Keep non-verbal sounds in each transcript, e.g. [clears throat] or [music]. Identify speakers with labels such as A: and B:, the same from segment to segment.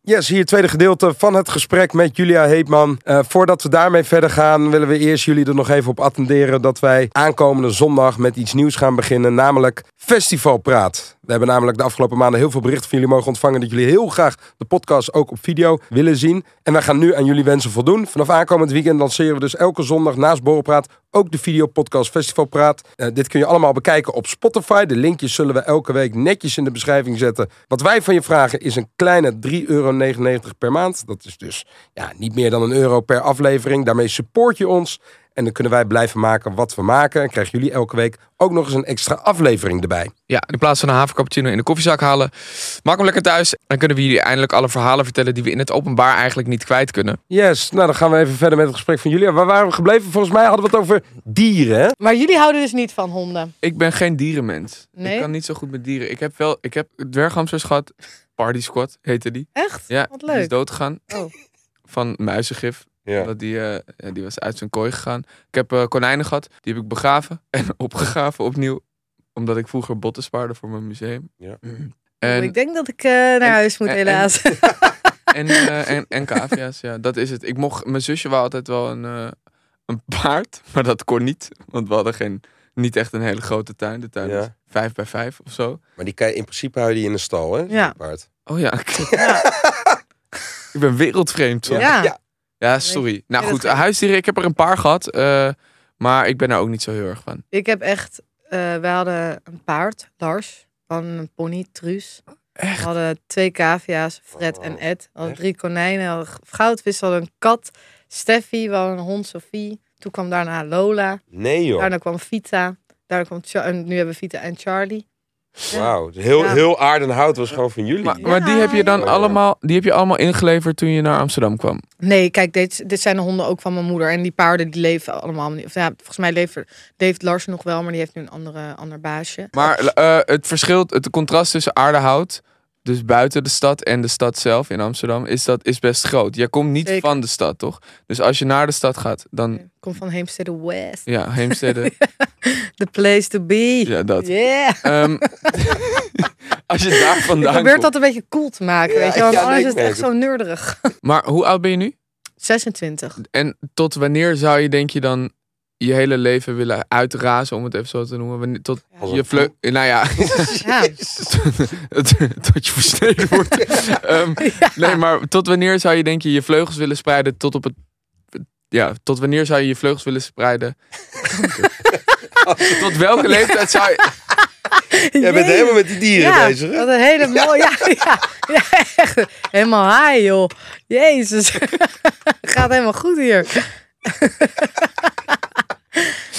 A: Yes, hier het tweede gedeelte van het gesprek met Julia Heetman. Eh, voordat we daarmee verder gaan, willen we eerst jullie er nog even op attenderen dat wij aankomende zondag met iets nieuws gaan beginnen, namelijk Festivalpraat. We hebben namelijk de afgelopen maanden heel veel berichten van jullie mogen ontvangen dat jullie heel graag de podcast ook op video willen zien. En wij gaan nu aan jullie wensen voldoen. Vanaf aankomend weekend lanceren we dus elke zondag naast Borrelpraat ook de videopodcast Festivalpraat. Eh, dit kun je allemaal bekijken op Spotify. De linkjes zullen we elke week netjes in de beschrijving zetten. Wat wij van je vragen is een kleine 3,99 euro per maand. Dat is dus ja, niet meer dan een euro per aflevering. Daarmee support je ons. En dan kunnen wij blijven maken wat we maken. En krijgen jullie elke week ook nog eens een extra aflevering erbij.
B: Ja, in plaats van een havercappuccino in de koffiezak halen. Maak hem lekker thuis. Dan kunnen we jullie eindelijk alle verhalen vertellen die we in het openbaar eigenlijk niet kwijt kunnen.
A: Yes, nou dan gaan we even verder met het gesprek van Julia. Waar waren we gebleven? Volgens mij hadden we het over dieren. hè?
C: Maar jullie houden dus niet van honden.
B: Ik ben geen dierenmens.
C: Nee?
B: Ik kan niet zo goed met dieren. Ik heb wel, ik heb dwerghamsters gehad. Party Squad heette die.
C: Echt?
B: Ja, dus
C: Wat
B: die is
C: leuk.
B: doodgegaan.
C: Oh.
B: Van muizengif.
A: Ja.
B: Dat die, eh, ja, die was uit zijn kooi gegaan. Ik heb eh, konijnen gehad. Die heb ik begraven en [laughs] opgegraven opnieuw. Omdat ik vroeger botten spaarde voor mijn museum.
A: Ja.
B: Mm. En,
C: ik denk dat ik eh, naar huis moet,
B: en- en-
C: helaas. [laughs]
B: en, eh, en, en cavia's, ja. Dat is het. Ik mocht, mijn zusje wou altijd wel een, eh, een paard. [laughs] Maar dat kon niet. Want we hadden geen, niet echt een hele grote tuin. De tuin
A: Ja.
B: is vijf bij vijf of zo.
A: Maar die kan, in principe hou je die in een stal, hè?
C: Ja.
A: Paard.
B: Oh ja. ik ben wereldvreemd. sorry.
C: Ja.
B: Ja, sorry. Nou
C: Ja, dat
B: goed,
C: gaat-
B: huisdieren, ik heb er een paar gehad. eh, maar ik ben er ook niet zo heel erg van.
C: Ik heb echt... eh wij hadden een paard, Lars, van een pony, Truus. We
B: Echt? Oh,
C: hadden twee cavia's, Fred en Ed. We hadden
A: echt?
C: drie konijnen, we hadden goudvis, we hadden een kat, Steffi, we hadden een hond, Sophie. Toen kwam daarna Lola,
A: Nee joh.
C: daarna kwam Vita, daarna kwam Char- en nu hebben we Vita en Charlie.
A: Wauw. Dus heel,
C: Ja.
A: heel aardenhout was gewoon van jullie.
B: Maar, maar die heb je dan
A: Ja.
B: allemaal, die heb je allemaal ingeleverd toen je naar Amsterdam kwam.
C: Nee, kijk, dit, dit zijn de honden ook van mijn moeder. En die paarden die leven allemaal niet. Of, ja, volgens mij leeft, leeft Lars nog wel, maar die heeft nu een andere, ander baasje.
B: Maar eh, het verschil, het contrast tussen aardehout, dus buiten de stad en de stad zelf in Amsterdam, is, dat, is best groot. Jij komt niet
C: Zeker.
B: van de stad, toch? Dus als je naar de stad gaat, dan
C: Komt van Heemstede West.
B: [laughs] ja, Heemstede,
C: The place to be.
B: ja dat.
C: Yeah.
A: [laughs]
B: Ehm, [laughs] als je daar
C: Ik
B: vandaan
C: probeer
B: komt.
C: dat een beetje cool te maken,
A: Ja,
C: weet je wel. Want
A: ja, nee,
C: anders
A: ik
C: is het
A: merk
C: echt zo neurderig.
B: Maar hoe oud ben je nu?
A: [laughs]
C: 26.
B: En tot wanneer zou je denk je dan je hele leven willen uitrazen, om het even zo te noemen? Wanneer- tot
A: Als
B: je
A: een
B: vleu... Nou ja,
C: Ja.
B: tot je versneden
C: [laughs]
B: wordt. Ehm,
C: Ja.
B: Nee, maar tot wanneer zou je denk je je vleugels willen spreiden tot op het... Ja, tot wanneer zou je je vleugels willen spreiden?
C: [laughs]
B: tot welke leeftijd zou je...
A: Jij bent
C: Jee.
A: helemaal met die dieren
C: ja,
A: bezig, hè?
C: Wat een hele mooie. Ja, ja, ja, echt. Helemaal high, joh. Jezus. [laughs] Gaat helemaal goed hier. [laughs]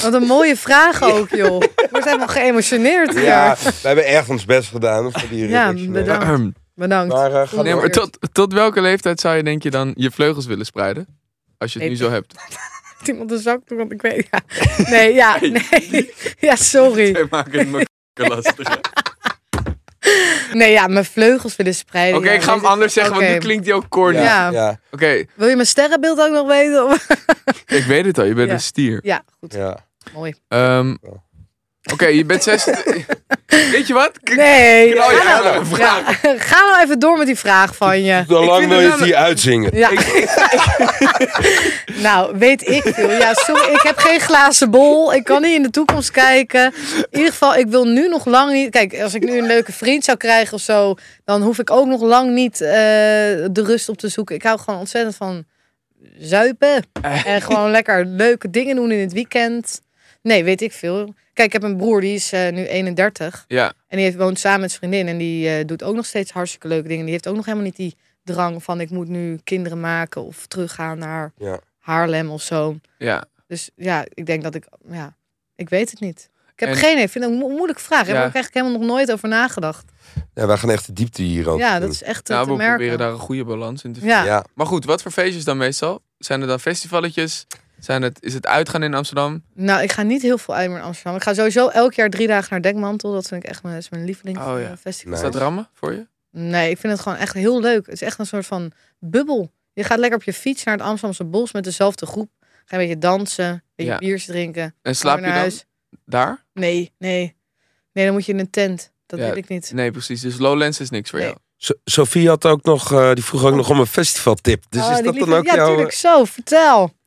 C: Wat een mooie vraag ook, joh. Ik word helemaal geëmotioneerd hier.
A: Ja, wij hebben echt ons best gedaan voor die
C: Ja,
A: redactioneel.
C: bedankt. Bedankt.
A: Maar, eh, ga
B: Ehm, Nee, maar tot, tot welke leeftijd zou je denk je dan je vleugels willen spreiden? Als je het nu zo hebt.
C: Heeft iemand een zak doen, want ik weet... Ja. Nee, ja, nee. Ja, sorry.
B: Wij maken het me lastig. hè?
C: Nee, ja, mijn vleugels willen
B: [laughs] Oké,
C: spreiden. Ja,
B: ik ga hem
C: weet
B: anders zeggen, want nu
C: Oké.
B: klinkt hij ook corny.
A: Ja, ja.
C: Ja.
A: ja.
B: Oké,
C: Wil je mijn sterrenbeeld ook nog weten? Of-
B: ik weet het al, je bent
C: Ja.
B: een stier.
C: Ja, goed. Mooi.
B: Ehm, Oké, je bent
C: [laughs]
B: 26. weet je wat? K-
C: Nee.
B: knal je
C: ga nou-
B: aan een vraag.
C: ja, ga nou even door met die vraag van je.
A: Hoe lang
B: vind
A: wil
B: het
A: je
B: wel-
A: het hier uitzingen?
C: [laughs] Ja. [laughs] nou, weet ik veel. Ja, sorry, ik heb geen glazen bol. Ik kan niet in de toekomst kijken. In ieder geval, ik wil nu nog lang niet... Kijk, als ik nu een leuke vriend zou krijgen of zo... dan hoef ik ook nog lang niet eh, de rust op te zoeken. Ik hou gewoon ontzettend van zuipen. En gewoon lekker leuke dingen doen in het weekend. Nee, weet ik veel. Kijk, ik heb een broer, die is eh, nu 31.
B: Ja,
C: En die heeft, woont samen met zijn vriendin. En die eh, doet ook nog steeds hartstikke leuke dingen. Die heeft ook nog helemaal niet die drang van ik moet nu kinderen maken of teruggaan naar
A: Ja.
C: Haarlem of zo.
B: ja.
C: Dus ja, ik denk dat ik, ja, ik weet het niet. Ik heb
B: En-
C: geen idee. Ik vind het een mo- moeilijke vraag. Daar
B: Ja.
C: heb ik eigenlijk helemaal nog nooit over nagedacht.
A: Ja, wij gaan echt de diepte hier ook.
C: Ja,
A: in.
C: dat is echt eh,
B: Nou,
C: te
B: we
C: merken.
B: proberen daar een goede balans in te vinden.
C: Ja.
A: Ja.
B: Maar goed, wat voor feestjes dan meestal? Zijn er dan festivaletjes? Zijn het, is het uitgaan in Amsterdam?
C: Nou, ik ga niet heel veel uit naar Amsterdam. Ik ga sowieso elk jaar drie dagen naar Dekmantel. Dat vind ik echt mijn, is mijn
B: Oh, ja.
C: lievelingsfestival. Eh,
B: Is
A: Nice.
B: dat rammen voor je?
C: Nee, ik vind het gewoon echt heel leuk. Het is echt een soort van bubbel. Je gaat lekker op je fiets naar het Amsterdamse Bos met dezelfde groep. Ga een beetje dansen, een beetje
B: Ja.
C: biertjes drinken.
B: En slaap
C: weer
B: je
C: naar
B: dan
C: huis.
B: daar?
C: Nee, nee. Nee, dan moet je in een tent. Dat
B: Ja,
C: weet ik niet.
B: Nee, precies. Dus Lowlands is niks voor
C: Nee.
B: jou.
A: So- Sophie had ook nog, eh, die vroeg ook nog om een festivaltip. Dus
C: Oh,
A: is
C: die
A: dat dan
C: lieve-
A: ook
C: Ja,
A: jouw...
C: natuurlijk. Zo, vertel.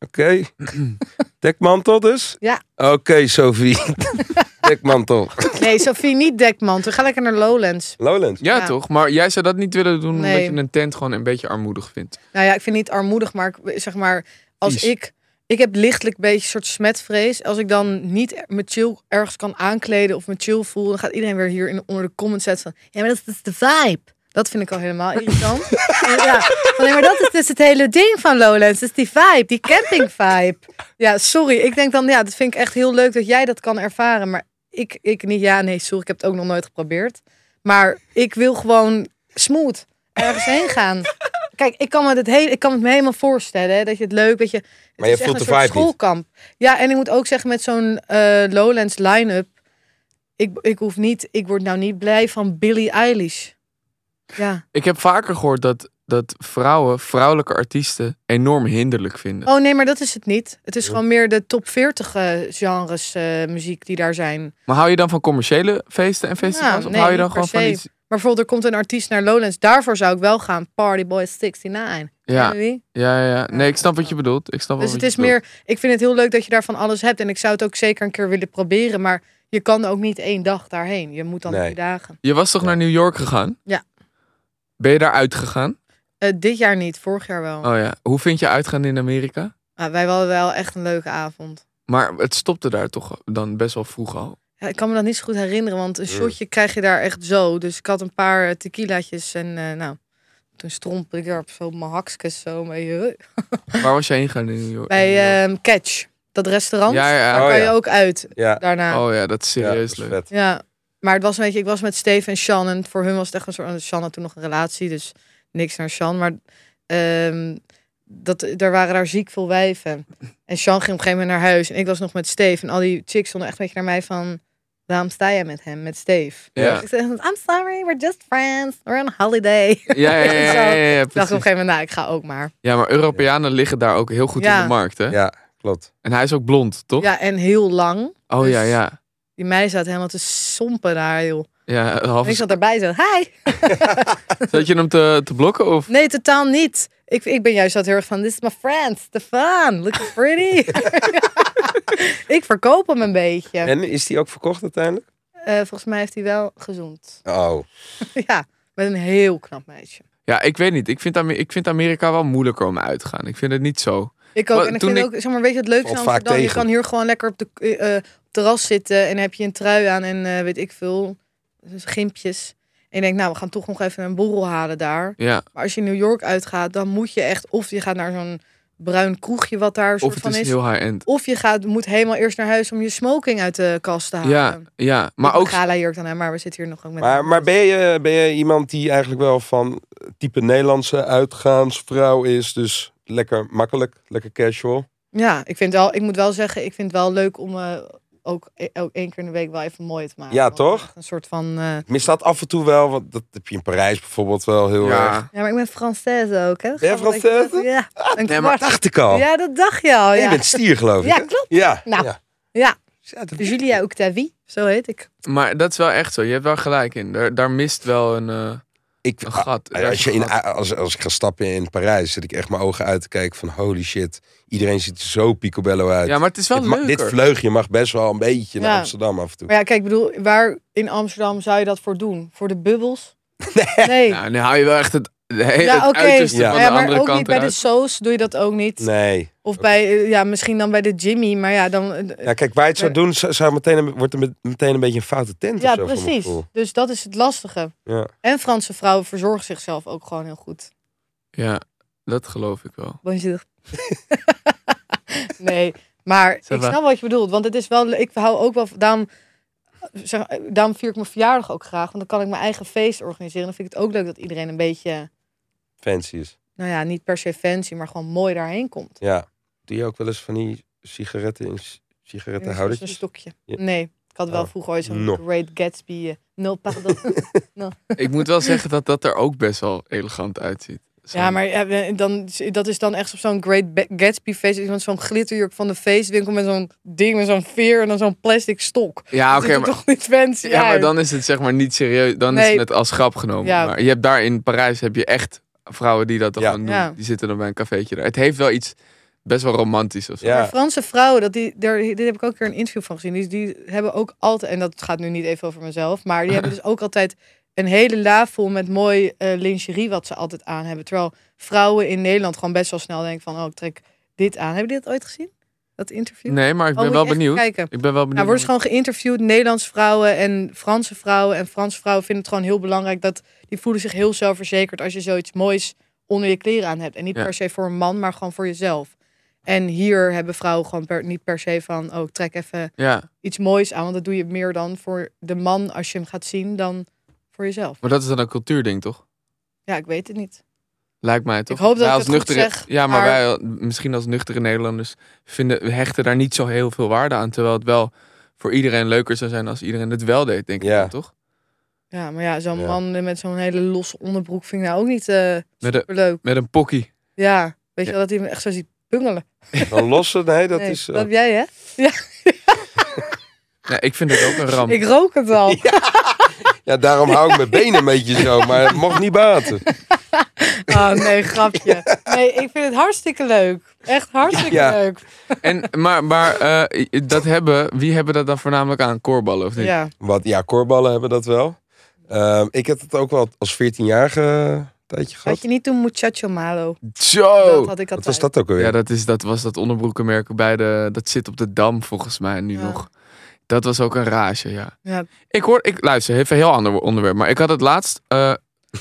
A: Oké.
C: [laughs]
A: Dekmantel dus?
C: Ja.
A: Oké, Sophie.
C: [laughs]
A: Dekmantel.
C: Nee, Sophie, niet dekmantel. Ga lekker naar Lowlands.
A: Lowlands.
B: Ja,
C: Ja.
B: toch? Maar jij zou dat niet willen doen
C: Nee.
B: omdat je een tent gewoon een beetje armoedig vindt.
C: Nou ja, ik vind het niet armoedig, maar ik- zeg maar, als
B: Vies.
C: ik. Ik heb lichtelijk een beetje een soort smetvrees. Als ik dan niet me chill ergens kan aankleden of me chill voel, dan gaat iedereen weer hier in, onder de comments zetten van... Ja, maar dat, dat is de vibe. Dat vind ik al helemaal irritant. En ja, van, nee, maar dat is dus het hele ding van Lowlands. Dat is die vibe, die camping vibe. Ja, sorry. Ik denk dan, ja, dat vind ik echt heel leuk dat jij dat kan ervaren. Maar ik, ik niet. Ja, nee, sorry. Ik heb het ook nog nooit geprobeerd. Maar ik wil gewoon smooth ergens heen
A: [laughs]
C: gaan. Kijk, ik kan me, dit heel, ik kan het me helemaal voorstellen. Hè, dat je het leuk, dat je... Het
A: Maar je
C: is echt
A: voelt
C: een
A: de
C: soort
A: vibe niet.
C: schoolkamp. Ja, en ik moet ook zeggen, met zo'n eh, Lowlands line-up... Ik, ik hoef niet... Ik word nou niet blij van Billie Eilish. Ja.
B: Ik heb vaker gehoord dat, dat vrouwen, vrouwelijke artiesten, enorm hinderlijk vinden.
C: Oh nee, maar dat is het niet. Het is gewoon meer de top 40 eh, genres eh, muziek die daar zijn.
B: Maar hou je dan van commerciële feesten en festivals?
C: Nou,
B: of
C: nee,
B: hou je dan
C: niet
B: gewoon
C: per
B: van
C: se.
B: iets...
C: Maar bijvoorbeeld, er komt een artiest naar Lowlands. Daarvoor zou ik wel gaan. Party Boy 69.
B: Ja,
C: Ken je die?
B: ja, ja. Nee, ik snap wat je bedoelt. Ik snap wel
C: Dus
B: wat
C: het
B: je
C: is
B: bedoelt.
C: meer... Ik vind het heel leuk dat je daarvan alles hebt. En ik zou het ook zeker een keer willen proberen. Maar je kan ook niet één dag daarheen. Je moet dan
A: Nee.
C: drie dagen.
B: Je was toch naar New York gegaan?
C: Ja.
B: Ben je daar uitgegaan?
C: Eh, dit jaar niet, vorig jaar wel.
B: Oh ja. Hoe vind je uitgaan in Amerika?
C: Ah, wij hadden wel echt een leuke avond.
B: Maar het stopte daar toch dan best wel vroeg al.
C: Ja, ik kan me dat niet zo goed herinneren, want een
A: Mm.
C: shotje krijg je daar echt zo. Dus ik had een paar eh, tequilaatjes en eh, nou, toen strompelde ik daar op zo op mijn hakskes zo mee. eh.
B: Waar was jij heen gegaan in New York?
C: Bij eh,
B: In New York?
C: ehm, Catch, dat restaurant.
B: Ja, ja, ja.
C: Daar
A: Oh,
C: kan je
A: ja.
C: ook uit
A: Ja.
C: daarna.
B: Oh ja, dat is
A: Ja,
B: serieus
A: dat is
B: leuk.
A: vet.
C: Ja, maar het was een beetje, ik was met Steve en Shan en voor hun was het echt een soort, Shan had toen nog een relatie, dus niks naar Shan. Maar ehm, dat, er waren daar ziek veel wijven. En Shan ging op een gegeven moment naar huis en ik was nog met Steve en al die chicks stonden echt een beetje naar mij van, waarom sta jij met hem, met Steve?
B: Ja.
C: Ik zei, I'm sorry, we're just friends, we're on holiday. [laughs]
B: Ja, ja, ja, ja, ja, ja,
C: Ik dacht op een
B: precies.
C: gegeven moment, nou, ik ga ook maar.
B: Ja, maar Europeanen liggen daar ook heel goed
C: Ja.
B: in de markt, hè?
A: Ja, klopt.
B: En hij is ook blond, toch?
C: Ja, dus- en heel lang.
B: Oh ja, ja.
C: Die meid zat helemaal te sompen daar, joh.
B: Ja, half...
C: En ik zat erbij zo, hi.
B: Zat je hem te, te blokken of?
C: Nee, totaal niet. Ik, ik ben juist dat heel erg van, this is my friend, Stefan, look pretty. [laughs] ik verkoop hem een beetje.
A: En is die ook verkocht uiteindelijk?
C: Eh, volgens mij heeft hij wel gezoend.
A: Oh.
C: ja, met een heel knap meisje.
B: Ja, ik weet niet. Ik vind, Amer- ik vind Amerika wel moeilijker om uit te gaan. Ik vind het niet zo.
C: Ik ook.
B: Wat-
C: en ik
B: toen
C: vind
B: ik-
C: ook, zeg maar, weet je wat leuk is in
A: Valt vaak
C: Amsterdam? Je
A: tegen.
C: kan hier gewoon lekker op de eh, eh, op het terras zitten en dan heb je een trui aan en eh, weet ik veel, dus gimpjes. En je denkt, nou, we gaan toch nog even een borrel halen daar.
B: Ja.
C: Maar als je in New York uitgaat, dan moet je echt, of je gaat naar zo'n bruin kroegje wat daar een soort
B: Of het
C: van
B: is,
C: is.
B: heel high-end.
C: Of je gaat, moet helemaal eerst naar huis om je smoking uit de kast te halen.
B: Ja, ja. Maar
C: Met
B: ook...
C: Een gala jurk dan, hè, maar we zitten hier nog ook met...
A: Maar, maar ben, je, ben je iemand die eigenlijk wel van type Nederlandse uitgaansvrouw is? Dus lekker makkelijk, lekker casual.
C: Ja, ik, vind wel, ik moet wel zeggen, ik vind het wel leuk om eh, ook, ook één keer in de week wel even mooi te maken.
A: Ja,
C: Want
A: toch?
C: echt Een soort van... eh,
A: Ik mis dat af en toe wel, want dat heb je in Parijs bijvoorbeeld wel heel erg.
B: Ja.
C: Ja, maar ik ben Française ook, hè?
A: jij
C: Grappig dat je dat-
A: Française? [laughs]
C: Ja, een
B: Nee, maar-
C: kwart.
A: Dacht ik al.
C: Ja, dat dacht je al,
A: En Je
C: ja.
A: bent stier, geloof ik.
C: Ja,
A: hè?
C: klopt.
A: Ja.
C: Nou,
A: ja.
C: Ja, Dus
A: Ja, dat-
C: Julia Octavie, zo heet ik.
B: Maar dat is wel echt zo. Je hebt wel gelijk in. Daar, daar mist wel een, eh,
A: Ik,
B: een gat.
A: Nou
B: Daar
A: ja,
B: is
A: als, je
B: een
A: in,
B: gat.
A: als, als ik ga stappen in Parijs, zit ik echt mijn ogen uit te kijken van holy shit. Iedereen ziet er zo picobello uit.
B: Ja, maar het is wel
A: dit, ma-
B: leuker.
A: dit vleugje mag best wel een beetje naar
C: Ja.
A: Amsterdam af en toe.
C: Maar ja, kijk, ik bedoel, waar in Amsterdam zou je dat voor doen? Voor de
A: [laughs]
C: bubbels? Nee.
B: Nou, nu hou je wel echt het, het
C: Ja, oké.
B: uiterste
A: Ja.
B: van
C: Nou
B: de
C: ja, maar
B: andere
C: ook
B: kant
C: niet bij de
B: eruit.
C: Soos doe je dat ook niet.
A: Nee.
C: Of bij, eh, ja, misschien dan bij de Jimmy, maar ja, dan... eh,
A: Ja, kijk, waar je het zou doen, zou, zou meteen, een- wordt er met- meteen een beetje een foute tent
C: Ja,
A: of zo. voor mijn
C: precies.
A: gevoel.
C: Dus dat is het lastige.
A: Ja.
C: En Franse vrouwen verzorgen zichzelf ook gewoon heel goed.
B: Ja, dat geloof ik wel. [laughs]
C: Bonjour. [laughs] nee, maar ik
B: Ça va.
C: snap wat je bedoelt. Want het is wel, ik hou ook wel, daarom, zeg, eh, daarom vier ik mijn verjaardag ook graag. Want dan kan ik mijn eigen feest organiseren. Dan vind ik het ook leuk dat iedereen een beetje,
A: Fancy is.
C: nou ja, niet per se fancy, maar gewoon mooi daarheen komt.
A: Ja. Doe je ook wel eens van die sigaretten in s-
C: Een
A: sigarettenhoudertjes?
C: stokje.
A: Ja.
C: Nee, ik had wel
A: Oh.
C: vroeger ooit zo'n
A: No.
C: Great Gatsby. eh, no,
A: [laughs]
C: pardon.
B: Ik moet wel zeggen dat dat er ook best wel elegant uitziet. Zo'n-
C: ja, maar eh, dan, dat is dan echt op zo'n Great Ba- Gatsby feest. Iemand zo'n glitterjurk van de feestwinkel met zo'n ding, met zo'n veer en dan zo'n plastic stok.
B: Ja,
C: Dat
B: Ah, oké,
C: ziet er
B: maar,
C: toch niet fancy
B: ja, maar
C: uit?
B: dan is het zeg maar niet serieus. Dan is
C: Nee.
B: het net als grap genomen.
C: Ja.
B: Maar je hebt daar in Parijs heb je echt vrouwen die dat dan
A: Ja.
B: gewoon doen.
C: Ja.
B: Die zitten dan bij een cafeetje daar. Het heeft wel iets best wel romantisch of zo.
A: Ja.
C: Maar Franse vrouwen, dat die, daar, dit heb ik ook een keer een interview van gezien. Die, die hebben ook altijd, en dat gaat nu niet even over mezelf, maar die hebben dus ook altijd een hele lafel met mooi eh, lingerie wat ze altijd aan hebben. Terwijl vrouwen in Nederland gewoon best wel snel denken van, oh, ik trek dit aan. Hebben jullie dat ooit gezien? Dat interview?
B: Nee, maar ik
C: Oh,
B: ben
C: moet
B: wel
C: je echt
B: benieuwd.
C: Kijken.
B: Ik ben wel benieuwd.
C: Nou, wordt gewoon geïnterviewd, Nederlandse vrouwen en Franse vrouwen. En Franse vrouwen vinden het gewoon heel belangrijk dat die voelen zich heel zelfverzekerd als je zoiets moois onder je kleren aan hebt. En niet
B: Ja.
C: per se voor een man, maar gewoon voor jezelf. En hier hebben vrouwen gewoon per, niet per se van, oh, ik trek even
B: Ja,
C: iets moois aan. Want dat doe je meer dan voor de man als je hem gaat zien dan voor jezelf.
B: maar dat is dan een cultuurding, toch?
C: Ja, ik weet het niet.
B: Lijkt mij toch?
C: hoop dat
B: Wij
C: ik
B: als
C: het goed
B: nuchtere,
C: zeg,
B: Ja, maar
C: maar-
B: wij misschien als nuchtere Nederlanders vinden, we hechten daar niet zo heel veel waarde aan. Terwijl het wel voor iedereen leuker zou zijn als iedereen het wel deed, denk ik
A: Ja.
B: dan, toch?
C: Ja, maar ja, zo'n
A: Ja.
C: man met zo'n hele losse onderbroek vind ik nou ook niet eh
B: Met een,
C: superleuk.
B: met een pokkie.
C: Ja, weet je
B: Ja.
C: wel, dat hij me echt zo ziet bungelen.
A: Dan lossen? Nee, dat
C: Nee,
A: is... eh,
C: dat heb jij, hè?
B: Nee, ik vind het ook een ramp.
C: [laughs] Ik rook het
A: [laughs]
C: al.
A: Ja, daarom hou
C: [laughs]
A: ik mijn benen een beetje zo, maar het mocht niet baten.
C: Oh nee,
A: [laughs]
C: grapje. Nee, ik vind het hartstikke leuk. Echt hartstikke
A: Ja.
C: leuk.
B: En, maar maar eh, dat hebben, wie hebben dat dan voornamelijk aan? Koorballen of niet?
C: Ja.
A: Wat, ja, korballen hebben dat wel. Ehm, ik heb het ook wel als 14-jarige tijdje gehad.
C: Had je niet toen Muchacho Malo?
B: Zo!
C: Dat had ik
A: Oh, Wat
C: altijd.
A: was dat ook alweer?
B: Ja, dat, is, dat was dat onderbroekenmerk bij de... Dat zit op de Dam volgens mij nu
C: Ja.
B: nog. Dat was ook een rage, ja.
C: Ja.
B: Ik hoor... Ik, luister, even een heel ander onderwerp. Maar ik had het laatst... eh,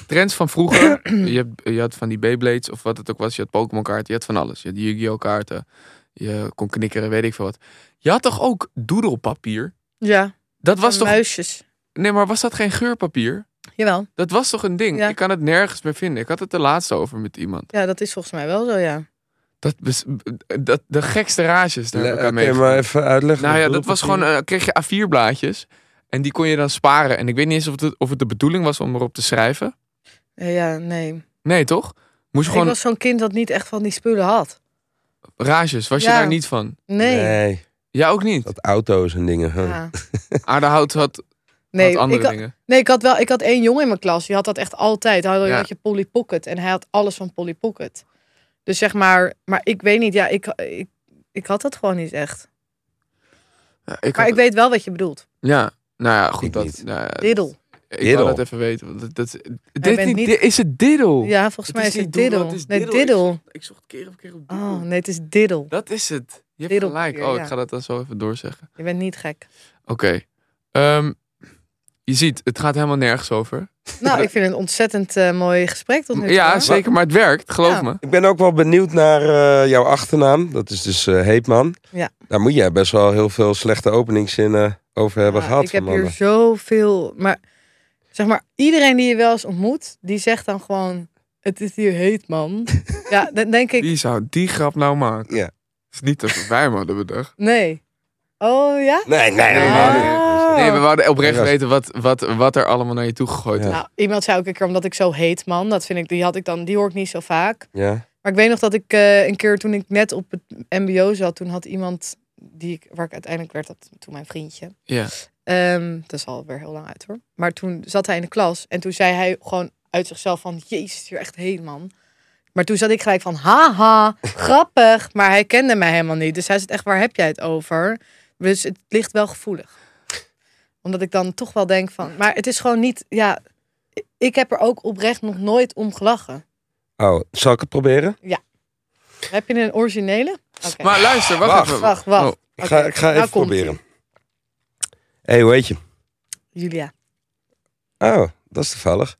B: trends van vroeger.
C: [clears throat]
B: je, hebt- je had van die Beyblades of wat het ook was. Je had Pokémon kaarten. Je had van alles. Je had Yu-Gi-Oh kaarten. Je kon knikkeren, weet ik veel wat. Je had toch ook doedelpapier?
C: Ja,
B: Dat was
C: en
B: toch...
C: muisjes.
B: Nee, maar was dat geen geurpapier?
C: Jawel.
B: Dat was toch een ding?
C: Ja.
B: Ik kan het nergens meer vinden. Ik had het de laatste over met iemand.
C: Ja, dat is volgens mij wel zo, ja.
B: Dat, bes- dat, de gekste rages, daar heb ik
A: Le-
B: aan
A: Kun je maar
B: meegemaakt.
A: even uitleggen?
B: Nou ja,
A: wat
B: dat was
A: bedoelt?
B: gewoon, eh, kreeg je A4 blaadjes. En die kon je dan sparen. En ik weet niet eens of het, of het de bedoeling was om erop te schrijven.
C: Ja, ja nee.
B: Nee, toch? Moest je
C: Ik
B: gewoon
C: was zo'n kind dat niet echt van die spullen had.
B: rages. Was je
C: Ja.
B: daar niet van?
C: Nee. Ah.
A: Nee,
B: Ja, ook niet.
A: dat auto's en dingen. [laughs] huh.
C: Ja.
B: Aardehout had,
C: Nee,
B: had andere
C: ik had,
B: dingen.
C: nee, ik had wel. Ik had één jongen in mijn klas. Die had dat echt altijd. Hij had,
B: Ja.
C: had je Polly Pocket en hij had alles van Polly Pocket. Dus zeg maar, maar ik weet niet. Ja, ik, ik, ik had dat gewoon niet echt.
B: Ja, ik
C: Maar
B: had-
C: ik weet wel wat je bedoelt.
B: ja, nou ja, goed.
A: Ik
B: dat,
A: niet.
B: nou ja,
C: Diddle.
B: Ik wil
A: Diddle.
B: dat even weten. Want dat, dat, dit
C: bent
B: niet,
C: niet-
B: dit- is het diddle.
C: Ja, volgens
B: Het
C: mij
B: is
C: is
B: niet
C: het
B: doedel,
C: diddle.
B: het is
C: Nee,
B: diddel. Ik
C: diddle.
B: Ik zocht keer op keer op
C: Oh, nee, het is diddle.
B: Dat is het. Je hebt
C: Wereldpapier,
B: gelijk. Oh,
C: ja.
B: ik ga dat dan zo even doorzeggen.
C: Je bent niet gek.
B: Oké. Ehm, je ziet, het gaat helemaal nergens over.
C: Nou, ik vind het een ontzettend eh, mooi gesprek tot nu toe.
B: Ja,
C: hoor.
B: zeker, maar het werkt, geloof
C: Ja.
B: me.
A: Ik ben ook wel benieuwd naar eh, jouw achternaam. Dat is dus eh, Heepman.
C: Ja.
A: Daar moet jij best wel heel veel slechte openingszinnen over hebben
C: Ja,
A: gehad.
C: Ik heb
A: van
C: hier
A: mannen.
C: zoveel... Maar zeg maar, iedereen die je wel eens ontmoet, die zegt dan gewoon... Het is hier
B: [laughs]
C: heet, man. ja, dan denk ik...
B: Wie zou die grap nou maken?
A: Ja.
B: Het is niet dat wij hem hadden bedacht.
C: Nee. Oh, ja?
A: Nee, nee, nee. nee, nee.
C: Ah.
B: Nee, we wilden oprecht
A: Ja.
B: weten wat, wat, wat er allemaal naar je toe gegooid
A: Ja.
B: is.
C: Nou, iemand zei ook een keer omdat ik zo heet, man. Dat vind ik, die had ik dan, die hoor ik niet zo vaak.
A: Ja.
C: Maar ik weet nog dat ik eh, een keer toen ik net op het MBO zat, toen had iemand die ik, waar ik uiteindelijk werd, dat toen mijn vriendje.
B: Ja.
C: Ehm, dat is alweer heel lang uit hoor. Maar toen zat hij in de klas en toen zei hij gewoon uit zichzelf van... Jezus, hier echt heen man. Maar toen zat ik gelijk van, haha, grappig. Maar hij kende mij helemaal niet. Dus hij zegt echt, waar heb jij het over? Dus het ligt wel gevoelig. Omdat ik dan toch wel denk van... Maar het is gewoon niet, ja... Ik heb er ook oprecht nog nooit om gelachen.
A: Oh, zal ik het proberen?
C: Heb je een originele? Oké.
B: Maar luister, wacht,
A: Wacht.
B: even.
C: Wacht, wacht.
B: Oh,
A: Ik ga,
C: Oké,
A: ik ga
C: nou
A: even
C: komt-ie.
A: proberen. Hé, hey, hoe heet je?
C: Julia.
A: Oh, dat is toevallig.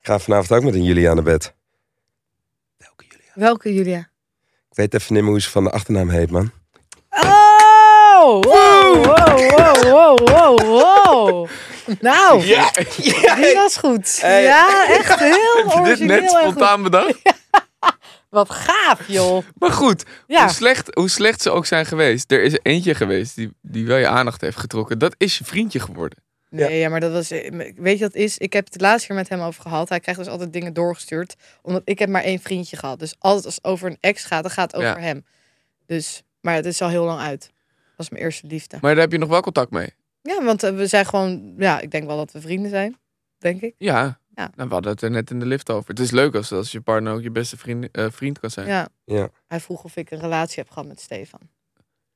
A: Ik ga vanavond ook met een Julia naar bed. Welke Julia?
C: Welke Julia?
A: Ik weet even niet meer hoe ze van de achternaam heet, man.
C: Oh! Wow, wow, wow, wow, wow, wow. Nou, die was goed.
A: Hey.
C: Ja, echt heel
B: Heb je dit [laughs]
C: origineel
B: net
C: en goed.
B: spontaan bedacht?
C: Wat gaaf, joh.
B: Maar goed,
C: Ja.
B: hoe, slecht, hoe slecht ze ook zijn geweest. Er is eentje geweest die, die wel je aandacht heeft getrokken. Dat is je vriendje geworden.
A: Ja.
C: Nee, ja, maar dat was. eh, Weet je wat het is? Ik heb het laatst keer met hem over gehad. Hij krijgt dus altijd dingen doorgestuurd. Omdat ik heb maar één vriendje gehad. Dus altijd als het over een ex gaat, dan gaat het over
B: Ja.
C: hem. Dus, maar het is al heel lang uit. Dat was mijn eerste liefde.
B: Maar daar heb je nog wel contact mee.
C: Ja, want eh, we zijn gewoon. Ja, ik denk wel dat we vrienden zijn. Denk ik.
B: Ja.
C: Ja.
B: Nou, we hadden het er net in de lift over. Het is leuk als, als je partner ook je beste vriend, eh, vriend kan zijn. Ja.
C: Ja.
A: Ja.
C: Hij vroeg of ik een relatie heb gehad met [laughs] Stefan.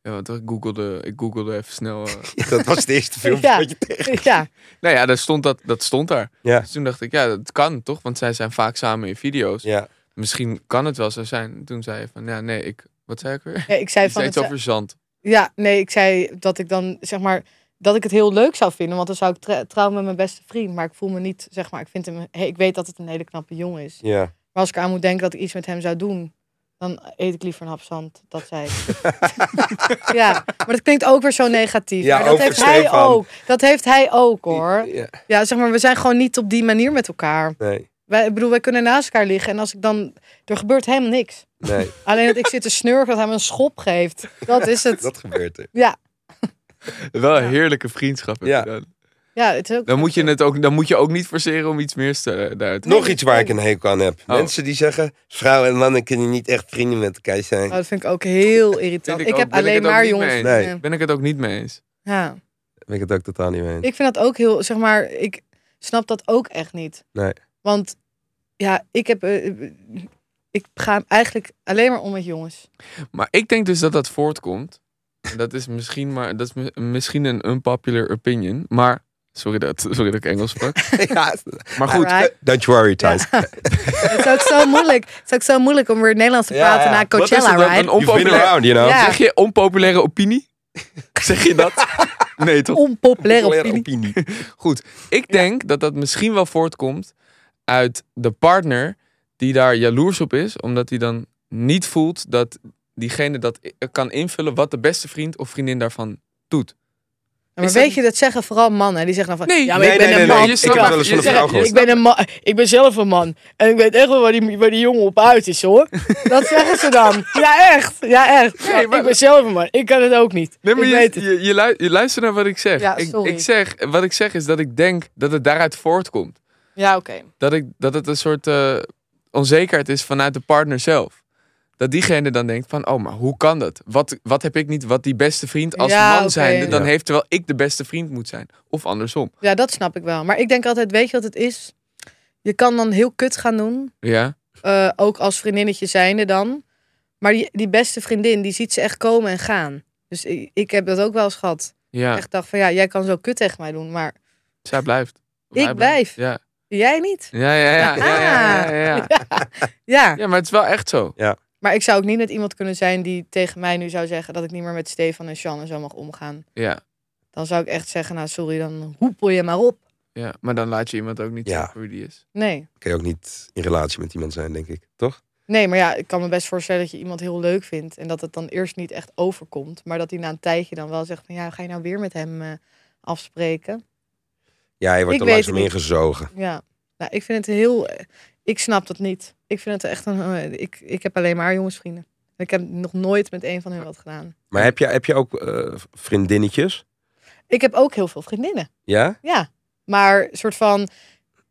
B: want ik googelde, ik googelde even snel.
A: [laughs]
B: eh. [laughs]
A: Dat was de eerste film.
C: Ja.
A: wat je tegen-
C: ja.
B: nou ja, daar stond dat, dat stond daar.
A: Ja.
B: Dus toen dacht ik, ja, dat kan toch? Want zij zijn vaak samen in video's.
A: Ja.
B: Misschien kan het wel zo zijn. Toen zei je van, ja, nee, ik... Wat zei ik weer? [laughs]
C: Ja, ik zei
B: Iets
C: van.
B: iets
C: het-
B: over zand.
C: Ja, nee, ik zei dat ik dan zeg maar dat ik het heel leuk zou vinden, want dan zou ik tra- trouwen met mijn beste vriend. Maar ik voel me niet, zeg maar, ik vind hem, hey, ik weet dat het een hele knappe jongen is.
A: Ja.
C: Maar als ik aan moet denken dat ik iets met hem zou doen, dan eet ik liever een hap zand. Dat zei ik.
A: [laughs]
C: ja, maar dat klinkt ook weer zo negatief.
A: Ja,
C: maar dat
A: over
C: heeft hij
A: Stefan.
C: ook. Dat heeft hij ook hoor.
A: Ja.
C: Ja, zeg maar, we zijn gewoon niet op die manier met elkaar.
A: Nee,
C: Wij, ik bedoel, wij kunnen naast elkaar liggen en als ik dan, er gebeurt helemaal niks.
A: nee,
C: Alleen dat ik
B: [laughs]
C: zit te snurken dat hij me een schop geeft. Dat is het.
A: dat gebeurt er.
C: Ja,
B: Wel een heerlijke vriendschap. heb
A: Ja.
B: je dan.
C: ja het is ook
B: Dan moet, je het ook, dan moet je ook niet forceren om iets meer te, daaruit te
A: Nog iets waar ik een hekel aan heb.
B: Oh.
A: Mensen die zeggen, vrouwen en mannen kunnen niet echt vrienden met elkaar zijn.
C: Oh, dat vind ik ook heel irritant.
B: Vind
C: Ik,
B: ik ook.
C: heb
B: Ben ik
C: alleen
B: het ook
C: maar
B: niet
C: jongens.
B: mee
A: eens?
C: vrienden.
B: Ben ik het ook niet mee eens.
C: Ja.
A: Ben ik het ook totaal niet mee
C: [laughs]
A: eens.
C: Ik vind dat ook heel, zeg maar, ik snap dat ook echt niet.
A: Nee.
C: Want ja, ik heb, eh, ik ga eigenlijk alleen maar om met jongens.
B: Maar ik denk dus dat dat voortkomt. En dat is misschien, maar, dat is mi- misschien een unpopular opinion. Maar, sorry dat, sorry dat ik Engels sprak.
A: ja,
B: Maar goed,
C: [laughs] Alright.
A: eh, don't you worry, Thijs.
C: Het is ook zo moeilijk. Het is ook zo moeilijk om weer Nederlands te
A: Ja, ja.
C: praten na
B: wat is
C: Coachella,
B: het dan? Een
C: right?
A: You've been
B: onpopulaire,
A: around, you know.
C: Ja.
B: zeg je onpopulaire
A: [laughs]
B: opinie? Zeg je
C: [laughs]
B: dat? Nee, toch?
C: Onpopulaire
A: Populaire
C: opinie. [laughs]
B: Goed, ik denk dat dat misschien wel voortkomt uit de partner die daar jaloers op is, omdat hij dan niet voelt dat diegene dat i- eh, kan invullen wat de beste vriend of vriendin daarvan doet.
C: Maar
B: Is dat-
C: weet je, dat zeggen vooral mannen. Die zeggen dan van,
B: Nee,
C: ja, maar
A: nee,
C: ik ben
A: nee,
C: een
A: nee,
C: man.
A: je
C: Ik
A: snapt
C: kan-
A: wel eens van een
C: je
A: vrouw
C: zegt,
A: gehoord.
C: Ik ben, een man, ik ben zelf een man. En ik weet echt wel waar die, waar die jongen op uit is, hoor. Dat zeggen ze dan. Ja, echt. Ja, echt.
B: Nee, maar-
C: Ik ben zelf een man. Ik kan het ook niet.
B: Nee, maar
C: ik
B: je,
C: weet het.
B: je, je lui- je luistert naar wat ik zeg.
C: Ja,
B: ik,
C: sorry.
B: ik zeg. Wat ik zeg is dat ik denk dat het daaruit voortkomt.
C: Ja, oké.
B: Dat, ik, dat het een soort eh, onzekerheid is vanuit de partner zelf. Dat diegene dan denkt van, oh, maar hoe kan dat? Wat, wat heb ik niet wat die beste vriend als
C: Ja,
B: man
C: oké.
B: zijnde dan
A: Ja.
B: heeft, terwijl ik de beste vriend moet zijn. Of andersom.
C: Ja, dat snap ik wel. Maar ik denk altijd, weet je wat het is? Je kan dan heel kut gaan doen.
B: Ja,
C: eh, ook als vriendinnetje zijnde dan. Maar die, die beste vriendin, die ziet ze echt komen en gaan. Dus ik, ik heb dat ook wel eens gehad.
B: ja.
C: Echt dacht van, ja, jij kan zo kut tegen mij doen. Maar
B: zij blijft. Of
C: Ik
B: hij Ja.
C: jij niet.
B: Ja, ja, ja, ja, ja,
C: Ah.
B: ja, ja.
C: [laughs] Ja.
B: Ja, maar het is wel echt zo.
C: Maar ik zou ook niet met iemand kunnen zijn die tegen mij nu zou zeggen dat ik niet meer met Stefan en Sean en zo mag omgaan.
B: Ja,
C: Dan zou ik echt zeggen, nou sorry, dan hoepel je maar op.
B: ja. Maar dan laat je iemand ook niet
A: Ja.
B: zeggen hoe die is.
C: Nee.
A: Kun je ook niet in relatie met iemand zijn, denk ik. Toch?
C: Nee, maar ja, ik kan me best voorstellen dat je iemand heel leuk vindt. En dat het dan eerst niet echt overkomt. Maar dat hij na een tijdje dan wel zegt van ja, ga je nou weer met hem eh, afspreken?
A: Ja, je
C: Ik
A: wordt er
C: weet
A: langzaam
C: het niet.
A: ingezogen.
C: Ja, nou, ik vind het heel... eh, Ik snap dat niet. Ik vind het echt een... eh, Ik, ik heb alleen maar jongensvrienden. En Ik heb nog nooit met een van hen wat gedaan.
A: Maar heb je, heb je ook eh, vriendinnetjes?
C: Ik heb ook heel veel vriendinnen.
A: Ja?
C: Ja. Maar soort van,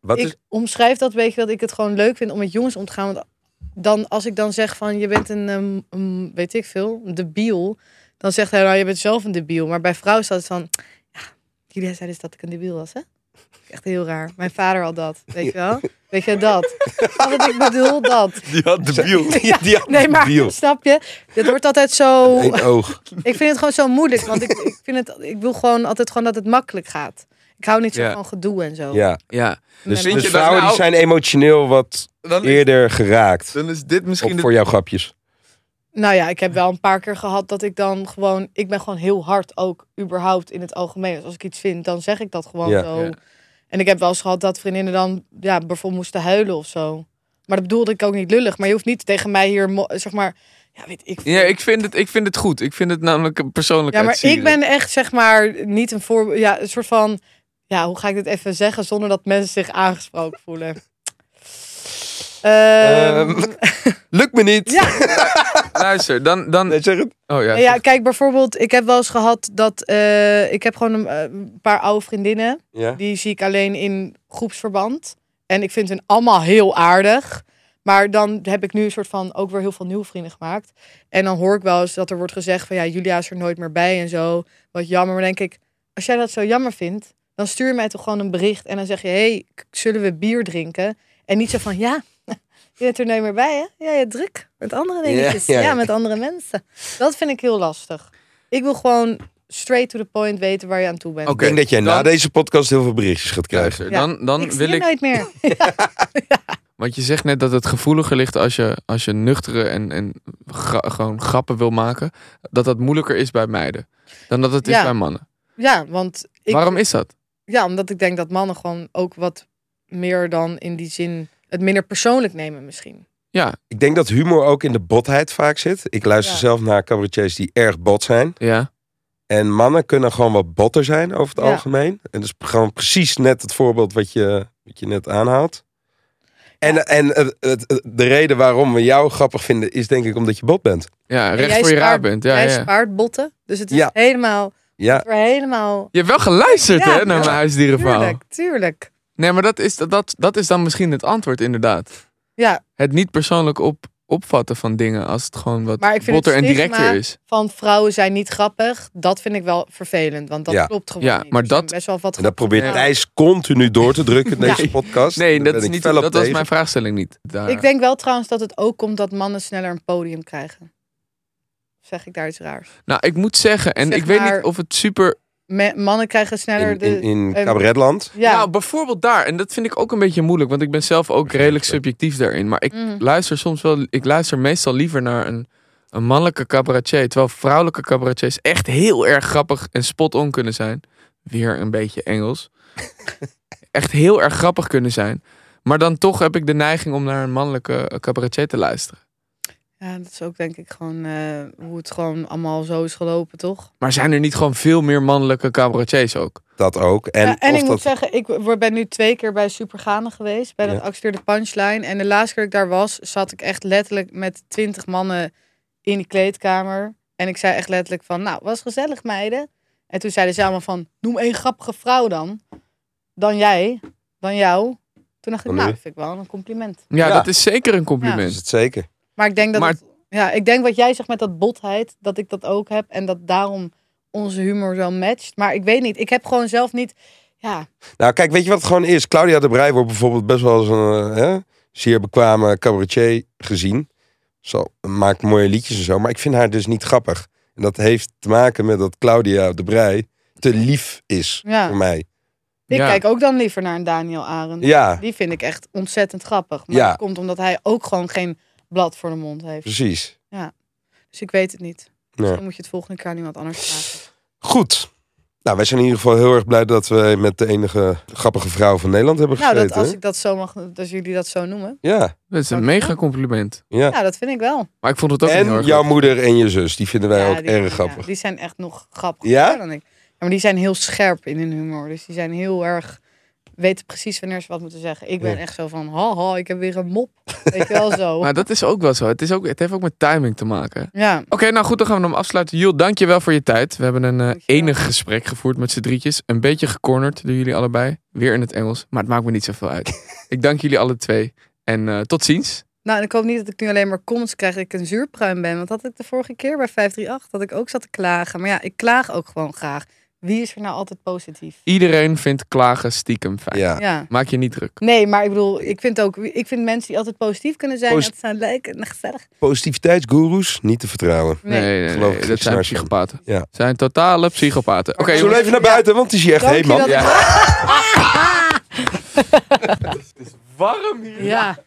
A: Wat
C: ik
A: is...
C: omschrijf dat, weet je, dat ik het gewoon leuk vind om met jongens om te gaan. Want dan, als ik dan zeg van, je bent een, ehm, een, weet ik veel, een debiel. Dan zegt hij, nou, je bent zelf een debiel. Maar bij vrouwen staat het van, ja, jullie zei dus dat ik een debiel was, hè? Echt heel raar. Mijn vader had dat, weet je
A: [laughs]
C: wel? Weet je dat? Snap wat ik bedoel, dat.
A: Die had
C: [laughs]
A: de biel. Die had
C: Nee,
A: de
C: maar
A: biel.
C: snap je? Het wordt altijd zo...
A: Eén oog.
C: Ik vind het gewoon zo moeilijk, want ik, ik, vind het, ik wil gewoon altijd gewoon dat het makkelijk gaat. Ik hou niet zo
B: Ja.
C: van gedoe en zo.
A: Ja.
B: Ja.
A: Dus,
B: Vind
A: dus
B: je dat
A: vrouwen
B: nou-
A: die zijn emotioneel wat
B: Dan is,
A: eerder geraakt.
B: dan is dit
A: Op
B: misschien...
A: voor jouw grapjes.
C: Nou ja, ik heb wel een paar keer gehad dat ik dan gewoon... Ik ben gewoon heel hard ook, überhaupt in het algemeen. Dus als ik iets vind, dan zeg ik dat gewoon
A: Ja.
C: zo.
B: Ja.
C: En ik heb wel eens gehad dat vriendinnen dan ja, bijvoorbeeld moesten huilen of zo. Maar dat bedoelde ik ook niet lullig. Maar je hoeft niet tegen mij hier, mo- zeg maar... Ja, weet ik
B: Ja, ik vind, het, ik vind het goed. Ik vind het namelijk een persoonlijk
C: Ja, maar
B: uitzieren.
C: ik ben echt, zeg maar, niet een voorbeeld... Ja, een soort van... Ja, hoe ga ik dit even zeggen zonder dat mensen zich aangesproken voelen? Ehm,
A: Ehm. [laughs] Lukt me niet.
C: Ja.
B: [laughs] Luister, dan... dan
A: Nee, zeg het.
B: oh ja.
C: Ja, kijk, bijvoorbeeld, ik heb wel eens gehad dat eh, ik heb gewoon een, eh, een paar oude vriendinnen.
A: Ja.
C: Die zie ik alleen in groepsverband. En ik vind hun allemaal heel aardig. Maar dan heb ik nu een soort van ook weer heel veel nieuwe vrienden gemaakt. En dan hoor ik wel eens dat er wordt gezegd van ja, Julia is er nooit meer bij en zo. Wat jammer. Maar dan denk ik, als jij dat zo jammer vindt, dan stuur mij toch gewoon een bericht. En dan zeg je, hey, k- zullen we bier drinken? En niet zo van ja, [laughs] je bent er nooit meer bij hè? Ja, je druk met andere dingetjes.
A: Ja, ja.
C: ja, met andere mensen. Dat vind ik heel lastig. Ik wil gewoon straight to the point weten waar je aan toe bent.
B: Oké.
A: Ik denk dat jij na
B: dan-
A: deze podcast heel veel berichtjes gaat krijgen.
B: Luister,
C: Ja.
B: dan, dan
C: ik zie nou-
B: wil
C: je
B: ik...
C: nooit meer.
B: Want je zegt net dat het gevoeliger ligt als je, als je nuchtere en, en gra- gewoon grappen wil maken. Dat dat moeilijker is bij meiden. Dan dat het is
C: Ja.
B: bij mannen.
C: Ja, want ik,
B: Waarom is dat?
C: ja, omdat ik denk dat mannen gewoon ook wat meer dan in die zin het minder persoonlijk nemen misschien.
A: Ik denk dat humor ook in de botheid vaak zit. Ik luister
C: Ja.
A: zelf naar cabaretiers die erg bot zijn.
B: Ja.
A: En mannen kunnen gewoon wat botter zijn over het
C: Ja.
A: algemeen. En dus gewoon precies net het voorbeeld wat je, wat je net aanhaalt. En, en het, het- het- de reden waarom we jou grappig vinden is denk ik omdat je bot bent.
B: Ja,
C: En
B: recht
C: jij
B: voor je raar
C: spaart-
B: bent. Ja,
C: Jij
B: ja.
C: spaart botten, dus het is
A: Ja.
C: helemaal,
A: Ja,
C: voor helemaal...
B: Je hebt wel geluisterd
C: Ja,
B: hè, naar
C: ja.
B: mijn huisdierenverhaal.
C: Tuurlijk, tuurlijk.
B: Nee, maar dat is, dat, dat is dan misschien het antwoord inderdaad.
C: Ja,
B: Het niet persoonlijk op, opvatten van dingen als het gewoon wat
C: Maar ik vind
B: botter
C: het
B: en
C: stigma-
B: directer is.
C: van vrouwen zijn niet grappig, dat vind ik wel vervelend, want dat
A: Ja.
C: klopt gewoon
B: Ja,
C: niet.
B: maar
C: Er zijn
B: dat-
C: best wel wat
A: en dat probeert
B: Ja.
A: Thijs continu door te drukken
B: [laughs]
A: in deze
C: Ja.
A: podcast.
B: Nee,
A: Daar
B: dat,
A: ben
B: is
A: ik
B: niet,
A: fel op
B: dat was
A: tegen.
B: mijn vraagstelling niet. Daar.
C: Ik denk wel trouwens dat het ook komt dat mannen sneller een podium krijgen. Zeg ik daar iets raars.
B: Nou, ik moet zeggen, en
C: Zeg
B: ik weet
C: maar-
B: niet of het super
C: Me- mannen krijgen sneller
A: in, in,
C: de...
A: in
C: eh,
A: cabaretland.
C: ja.
B: Nou, bijvoorbeeld daar. En dat vind ik ook een beetje moeilijk. Want ik ben zelf ook redelijk subjectief daarin. Maar ik
C: Mhm.
B: luister soms wel. Ik luister meestal liever naar een, een mannelijke cabaretier. Terwijl vrouwelijke cabaretiers echt heel erg grappig en spot-on kunnen zijn. Weer een beetje
A: [laughs]
B: Engels. echt heel erg grappig kunnen zijn. Maar dan toch heb ik de neiging om naar een mannelijke eh, cabaretier te luisteren.
C: Ja, dat is ook denk ik gewoon eh, hoe het gewoon allemaal zo is gelopen, toch?
B: Maar zijn er niet gewoon veel meer mannelijke cabaretiers ook?
A: Dat ook. En,
C: En, en
A: of
C: ik
A: dat,
C: moet zeggen, ik word- ben nu twee keer bij Supergane geweest. Bij
A: Ja.
C: dat acteerde punchline. En de laatste keer dat ik daar was, zat ik echt letterlijk met twintig mannen in die kleedkamer. En ik zei echt letterlijk van, nou, was gezellig meiden. En toen zeiden ze allemaal van, noem één grappige vrouw dan. Dan jij, dan jou. Toen dacht ik,
A: Dan
C: nou,
A: nu.
C: vind ik wel een compliment.
B: Ja,
A: Ja.
B: dat is zeker een
A: is
B: compliment.
A: het zeker.
C: Maar ik denk dat.
B: Maar-
C: het- ja, ik denk wat jij zegt met dat botheid, dat ik dat ook heb. En dat daarom onze humor zo matcht. Maar ik weet niet. Ik heb gewoon zelf niet. Ja,
A: Nou, kijk, weet je wat het gewoon is? Claudia de Brij wordt bijvoorbeeld best wel als een eh, hè, zeer bekwame cabaretier gezien. Zo, maakt mooie liedjes en zo. Maar ik vind haar dus niet grappig. En dat heeft te maken met dat Claudia de Brij te lief is
C: ja.
A: voor mij.
C: ik
B: Ja.
C: kijk ook dan liever naar een Daniel Arend.
A: Ja,
C: Die vind ik echt ontzettend grappig. Maar
A: Ja.
C: dat komt omdat hij ook gewoon geen blad voor de mond heeft.
A: precies.
C: Dus ik weet het niet.
A: Ja.
C: Dan moet je het volgende keer aan iemand anders vragen.
A: Goed. Nou, wij zijn in ieder geval heel erg blij dat we met de enige grappige vrouw van Nederland hebben
C: Nou,
A: gezeten.
C: dat, als
A: hè?
C: ik dat zo mag, als jullie dat zo noemen.
A: Ja,
B: Dat is een
C: Dankjewel.
B: mega compliment.
A: ja.
C: Ja, dat vind ik wel.
B: Maar ik vond het ook niet heel
A: En
B: erg
A: jouw
B: leuk.
A: moeder en je zus, die vinden wij
C: ja,
A: ook
C: die-
A: erg
C: ja,
A: grappig.
C: die zijn echt nog grappiger
A: Ja?
C: dan ik. Ja, maar die zijn heel scherp in hun humor. Dus die zijn heel erg... Weten precies wanneer ze wat moeten zeggen. Ik ben
A: Ja.
C: echt zo van... Haha, ik heb weer een mop. Weet je wel
A: [laughs]
C: zo.
B: Maar dat is ook wel zo. Het, is ook, het heeft ook met timing te maken. Oké,
C: Ja.
B: nou goed, dan gaan we hem afsluiten. Jules, dankjewel voor je tijd. We hebben een eh,
C: Dankjewel.
B: enig gesprek gevoerd met z'n drietjes. Een beetje gecornerd door jullie allebei. Weer in het Engels, maar het maakt me niet zoveel
A: [laughs]
B: uit. ik dank jullie alle twee. En eh, tot ziens.
C: Nou, en ik hoop niet dat ik nu alleen maar comments krijg dat ik een zuurpruim ben. Want dat had ik de vorige keer bij 538. Dat ik ook zat te klagen. Maar ja, ik klaag ook gewoon graag. Wie is er nou altijd positief?
B: Iedereen vindt klagen stiekem fijn.
A: Ja.
C: Ja.
B: Maak je niet druk.
C: Nee, maar ik bedoel, ik vind ook, ik vind mensen die altijd positief kunnen zijn,
A: Posit-
C: dat zijn leuk en gezellig.
A: Positiviteitsgoeroes, niet te vertrouwen.
B: Nee, nee, nee,
A: geloof ik
B: dat
A: geen
B: zijn
A: snaar van.
B: psychopaten.
A: Ja.
B: Zijn totale psychopaten. Oké,
A: Zullen we
B: jongens.
A: even naar buiten, want het is hier echt
C: Dank
A: heet,
C: je
A: man.
C: dat ik-
B: Warm hier.
C: ja.